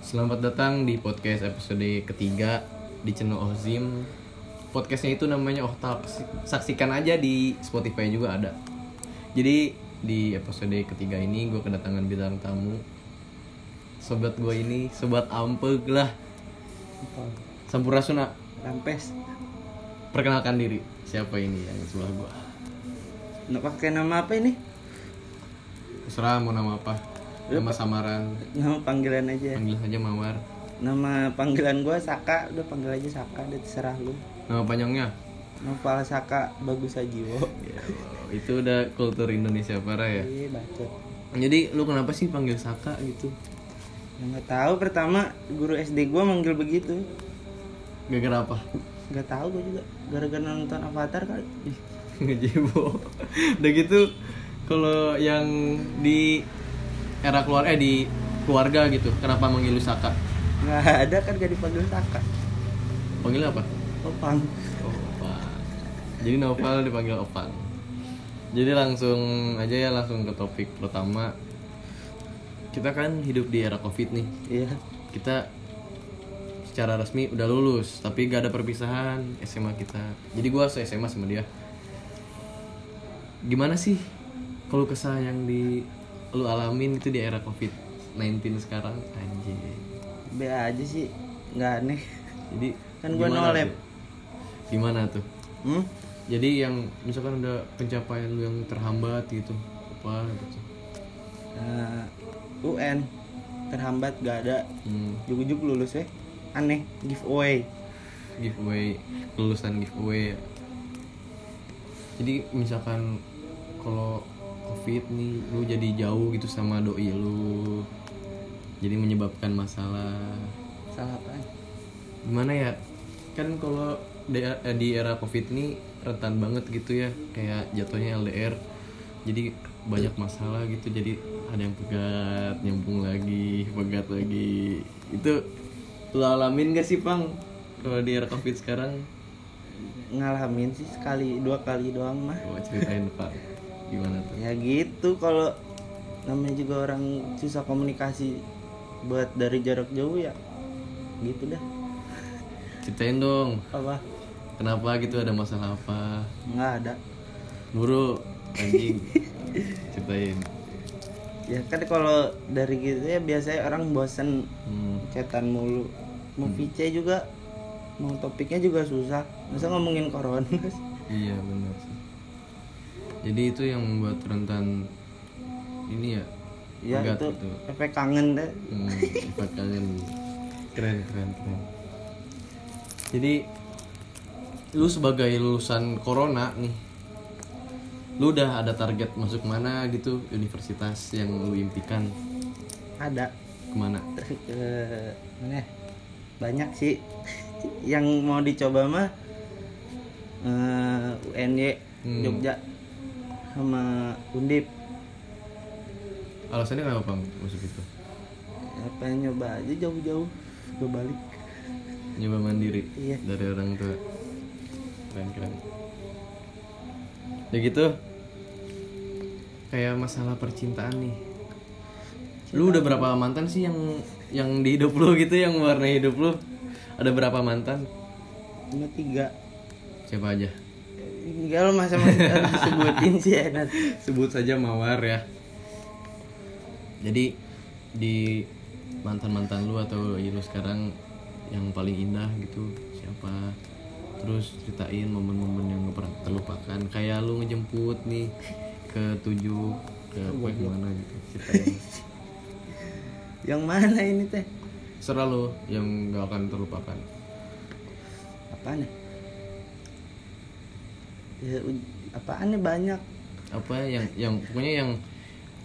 Selamat datang di podcast episode ketiga di channel Ozim. Podcastnya itu namanya Ohtak. Saksikan aja di Spotify juga ada. Jadi di episode ketiga ini gue kedatangan bintang tamu. Sobat gue ini, sobat ampeg lah. Sampurasuna, Rampes. perkenalkan diri. Siapa ini yang sebelah gue? Nggak pakai nama apa ini? Terserah mau nama apa? Nama samaran. Nama panggilan aja. Panggil saja Mawar. Nama panggilan gua Saka, udah panggil aja Saka, udah terserah lu. Nama panjangnya? Novel Saka Bagus Ajiwo. Ya, itu udah kultur Indonesia parah ya. Iya, bacot. Jadi lu kenapa sih panggil Saka gitu? Ya, Nggak tahu pertama guru SD gua manggil begitu. Gara-gara apa? Nggak tahu gua juga. Gara-gara nonton Avatar kali. Ih, Ngejebo. Udah gitu kalau yang di era keluar eh di keluarga gitu, kenapa manggil lu Saka? Nggak ada kan gak dipanggil Saka. Panggil apa? Opang. Oh, Opang. Jadi Novel dipanggil Opang. Jadi langsung aja ya langsung ke topik pertama. Kita kan hidup di era Covid nih. Iya. kita secara resmi udah lulus tapi gak ada perpisahan SMA kita jadi gua se SMA sama dia gimana sih kalau kesah yang di lu alamin itu di era covid 19 sekarang anjir Be aja sih. Nggak aneh. jadi Kan gua gimana no lab. tuh? gimana tuh Hmm? jadi yang misalkan udah pencapaian lu yang terhambat gitu apa gitu Eh, UN terhambat gak ada hmm, Jujuk-jujuk lulus ya aneh giveaway giveaway kelulusan giveaway ya. jadi misalkan kalau covid nih lu jadi jauh gitu sama doi lu jadi menyebabkan masalah salah apaan gimana ya kan kalau di, eh, di era covid ini rentan banget gitu ya kayak jatuhnya LDR jadi banyak masalah gitu jadi ada yang pegat nyambung lagi pegat lagi itu lu alamin gak sih pang kalau di era covid sekarang ngalamin sih sekali dua kali doang mah Coba ceritain Pak gimana tuh? ya gitu kalau namanya juga orang susah komunikasi buat dari jarak jauh ya gitu dah Ceritain dong. apa Kenapa gitu ada masalah apa? nggak ada Buru anjing. Ceritain. ya kan kalau dari gitu ya biasanya orang bosen Hmm. cetan mulu mau VC juga mau topiknya juga susah masa ngomongin corona Iya benar sih. Jadi itu yang membuat rentan ini ya. ya pegat itu gitu. efek kangen deh Hmm, sifat kalian keren keren keren. Jadi lu sebagai lulusan corona nih lu udah ada target masuk mana gitu universitas yang lu impikan ada kemana Eh, mana ya? banyak sih yang mau dicoba mah eh, UNY Hmm. Jogja sama Undip Alasannya kenapa Bang masuk itu? apa nyoba aja jauh-jauh gue balik Nyoba mandiri Iya. dari orang tua. Keren keren. Ya gitu. Kayak masalah percintaan nih. Lu udah berapa mantan sih yang yang di hidup lu gitu yang mewarnai hidup lu? Ada berapa mantan? cuma tiga Siapa aja? enggak lo masa masih harus disebutin sih ya, enak Sebut saja Mawar ya. Jadi di mantan-mantan lu atau doi lu sekarang yang paling indah gitu siapa? Terus ceritain momen-momen yang gak pernah terlupakan. Kayak lu ngejemput nih ke tujuh ke apa gimana gitu ceritain. yang mana ini teh Serah lu yang gak akan terlupakan. apaan ya, ya u- apaan ya banyak Apa yang yang pokoknya yang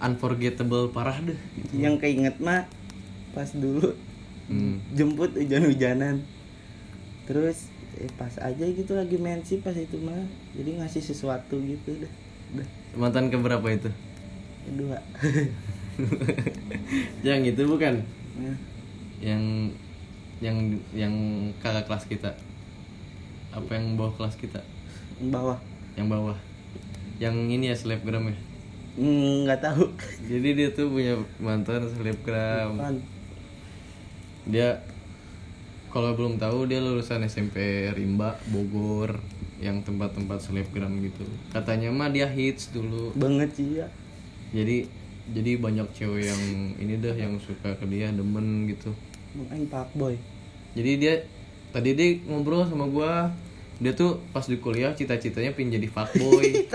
unforgettable parah deh. yang keinget mah pas dulu Hmm. jemput hujan-hujanan terus eh, pas aja gitu lagi mensi pas itu mah jadi ngasih sesuatu gitu dah, dah. Mantan keberapa itu? dua yang itu bukan? Nah, yang yang yang kakak kelas kita apa yang bawah kelas kita yang bawah yang bawah yang ini ya selebgram ya Hmm, nggak tahu Kan, jadi dia tuh punya mantan selebgram Apaan? dia kalau belum tahu dia lulusan SMP Rimba Bogor yang tempat-tempat selebgram gitu katanya mah dia hits dulu banget sih ya jadi jadi banyak cewek yang ini dah yang suka ke dia demen gitu main pak boy jadi dia tadi dia ngobrol sama gua dia tuh pas di kuliah cita-citanya pengen jadi fuckboy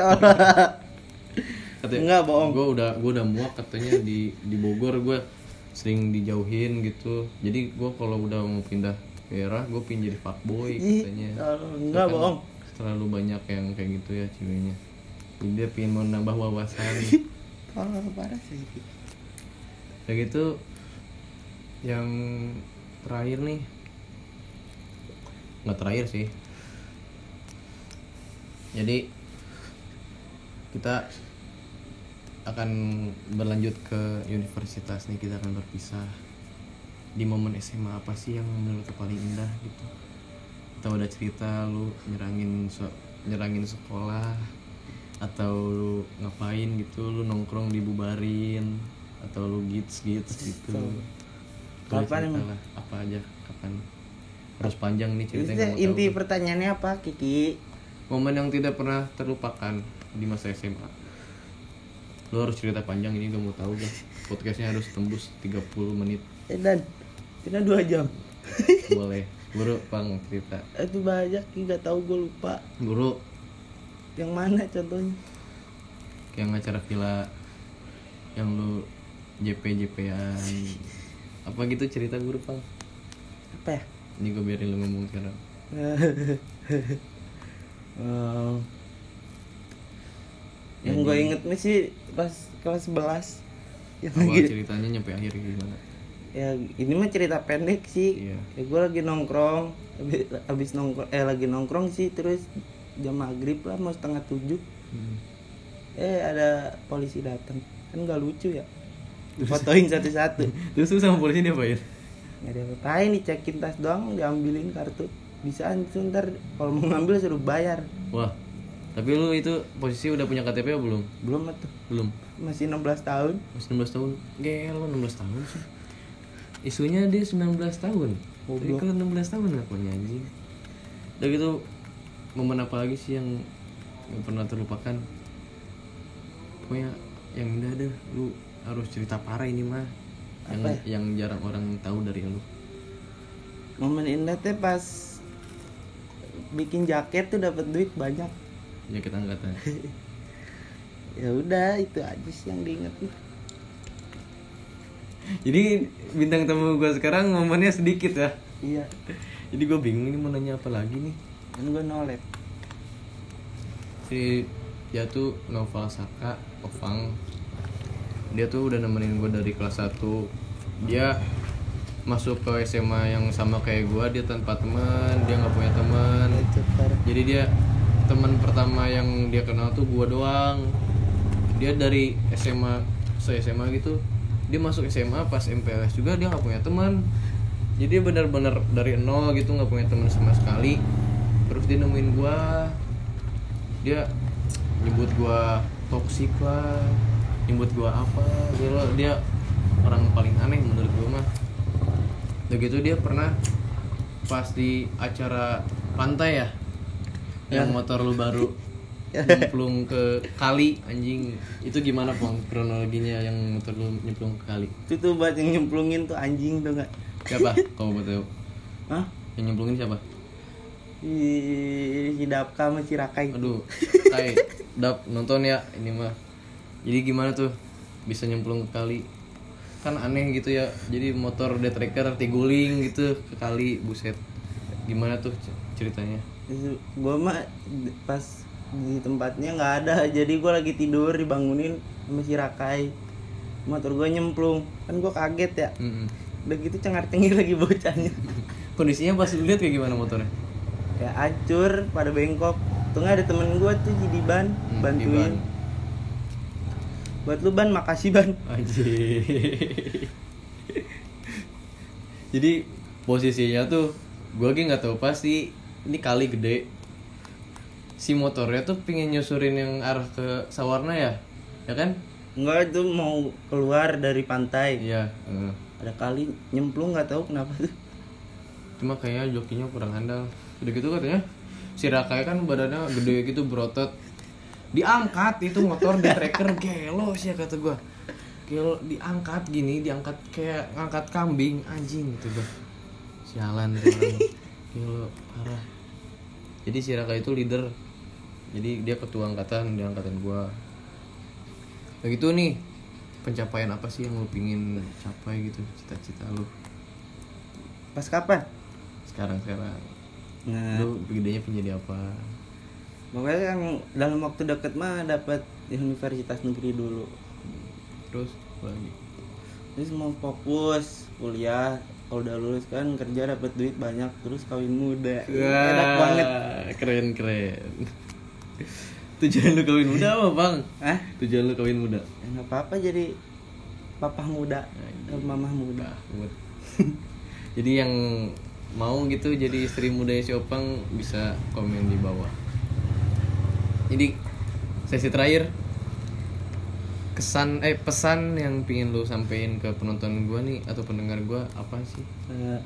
katanya Enggak, bohong. gue udah gue udah muak katanya di di Bogor gue sering dijauhin gitu jadi gue kalau udah mau pindah daerah gue pingin jadi fuckboy Ih, katanya tolong. enggak Karena bohong terlalu banyak yang kayak gitu ya ceweknya jadi dia pingin mau nambah wawasan tolong parah sih kayak gitu yang terakhir nih nggak terakhir sih jadi kita akan berlanjut ke universitas nih kita akan berpisah di momen SMA apa sih yang menurut lu paling indah gitu kita udah cerita lu nyerangin so- nyerangin sekolah atau lu ngapain gitu lu nongkrong dibubarin atau lu gits gits gitu Boleh Kapan cerita emang? lah, apa aja kapan harus panjang nih Itu ceritanya nggak mau inti tahu. pertanyaannya apa Kiki momen yang tidak pernah terlupakan di masa SMA lu harus cerita panjang ini gue mau tahu gue podcastnya harus tembus 30 menit eh dan kita dua jam boleh bro pang cerita itu banyak Ki nggak tahu gue lupa guru yang mana contohnya yang acara villa yang lu JP JP-an apa gitu cerita guru pang apa ya ini gue biarin lu ngomong sekarang Ehm, Eh, yang gue inget nih sih pas kelas 11 yang awal lagi ceritanya nyampe akhir gimana ya ini mah cerita pendek sih Iya. ya, gue lagi nongkrong abis, abis nongkrong eh lagi nongkrong sih terus jam maghrib lah mau setengah tujuh Hmm. eh ada polisi datang kan gak lucu ya difotoin satu-satu terus lu sama polisi diapain nggak ada apa-apain dicekin tas doang diambilin kartu bisa itu ntar kalau mau ngambil suruh bayar wah tapi lu itu posisi udah punya KTP belum belum lah tuh belum masih 16 tahun masih 16 tahun gel lu 16 tahun sih isunya dia 19 tahun tapi Goblok. kalau 16 tahun ngapain anjing udah gitu momen apa lagi sih yang yang pernah terlupakan pokoknya yang indah deh lu harus cerita parah ini mah yang Apa ya? yang jarang orang tahu dari lu momen indah teh pas bikin jaket tuh dapat duit banyak ya kita angkatan ya udah itu aja sih yang diinget jadi bintang tamu gua sekarang momennya sedikit ya iya jadi gua bingung ini mau nanya apa lagi nih kan gue nolet si dia tuh Noval Saka Opang dia tuh udah nemenin gue dari kelas 1 dia masuk ke SMA yang sama kayak gue dia tanpa teman dia nggak punya teman itu parah jadi dia teman pertama yang dia kenal tuh gue doang dia dari SMA se SMA gitu dia masuk SMA pas MPLS juga dia nggak punya teman jadi dia benar-benar dari nol gitu nggak punya teman sama sekali terus dia nemuin gue dia nyebut gue toksik lah nyebut gue apa dia dia orang paling aneh menurut gue mah Udah gitu dia pernah pas di acara pantai ya yang motor lu baru nyemplung ke kali anjing itu gimana pong kronologinya yang motor lu nyemplung ke kali itu tuh buat yang nyemplungin tuh anjing tuh nggak siapa kamu mau tahu Hah? yang nyemplungin siapa Ih, si Dapka sama si Rakai aduh tai dap nonton ya ini mah jadi gimana tuh bisa nyemplung ke kali kan aneh gitu ya jadi motor dead tracker tiguling gitu ke kali buset gimana tuh c- ceritanya gue mah d- pas di tempatnya nggak ada jadi gue lagi tidur dibangunin sama si Rakai motor gue nyemplung kan gue kaget ya Mm-mm. udah gitu cengar cengir lagi bocahnya Kondisinya pas lu lihat kayak gimana motornya? ya hancur pada bengkok tuh ada temen gue tuh jadi ban Hmm, bantuin di buat lu ban makasih ban ban. Anjir. Jadi posisinya tuh gua lagi nggak tahu pasti ini kali gede. Si motornya tuh pingin nyusurin yang arah ke Sawarna ya, ya kan? Enggak itu mau keluar dari pantai. Iya. eh. Ada kali nyemplung nggak tahu kenapa tuh. Cuma kayaknya jokinya kurang handal. Udah gitu katanya si Rakai kan badannya gede gitu berotot. Diangkat itu motor di tracker gelo sih kata gua. Gelo diangkat gini, diangkat kayak ngangkat kambing anjing gitu gua. Sialan tuh orang. Gelo parah. Jadi si Rakai itu leader. Jadi dia ketua angkatan di angkatan gua. Nah gitu nih pencapaian apa sih yang lu pingin capai gitu cita-cita lu Pas kapan? sekarang sekarang Nah, lu gedenya pengen jadi apa pokoknya yang kan dalam waktu deket mah dapat universitas negeri dulu. terus apa lagi Terus mau fokus kuliah. Kalau udah lulus kan kerja dapat duit banyak terus kawin muda. Enak banget. keren keren tujuan lu kawin muda apa bang Hah? tujuan lu kawin muda Enggak apa-apa jadi papa muda, eh, mamah muda. Buat- jadi yang mau gitu jadi istri muda si Opang bisa komen di bawah jadi sesi terakhir kesan eh pesan yang pingin lu sampein ke penonton gua nih atau pendengar gua apa sih Eh,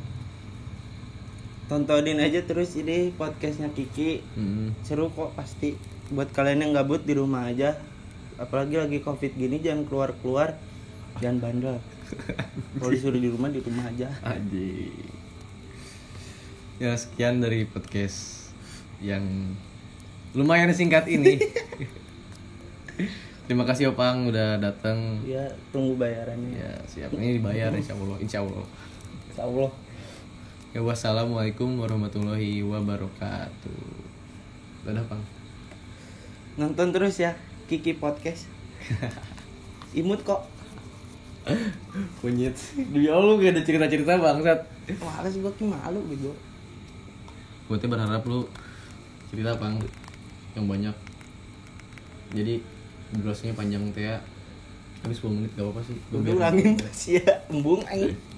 tontonin aja terus ini podcastnya Kiki Hmm. seru kok pasti buat kalian yang gabut di rumah aja apalagi lagi covid gini jangan keluar keluar jangan bandel kalau disuruh di rumah di rumah aja Aji. Ya sekian dari podcast yang lumayan singkat ini. Terima kasih Opang udah datang. ya tunggu bayarannya Ya siap ini dibayar insya Allah. Insya Allah. Insya Allah Ya wassalamualaikum warahmatullahi wabarakatuh. Dadah Pang. nonton terus ya Kiki podcast imut kok Kunyit. Demi Allah gak ada cerita-cerita bangsat. males gua ki malu gitu. bego Gue tuh berharap lu cerita Pang yang banyak. Jadi durasinya panjang teh ya. Habis 10 menit gak apa-apa sih. Gua udah biarin. ulangin terus ya embung aing